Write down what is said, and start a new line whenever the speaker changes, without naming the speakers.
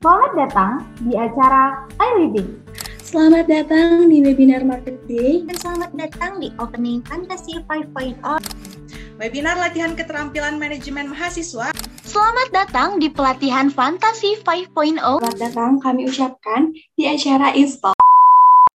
Selamat datang di acara iLiving.
Selamat datang di webinar Market Day.
Dan selamat datang di opening Fantasi 5.0.
Webinar latihan keterampilan manajemen mahasiswa.
Selamat datang di pelatihan Fantasi 5.0.
Selamat datang kami ucapkan di acara Install.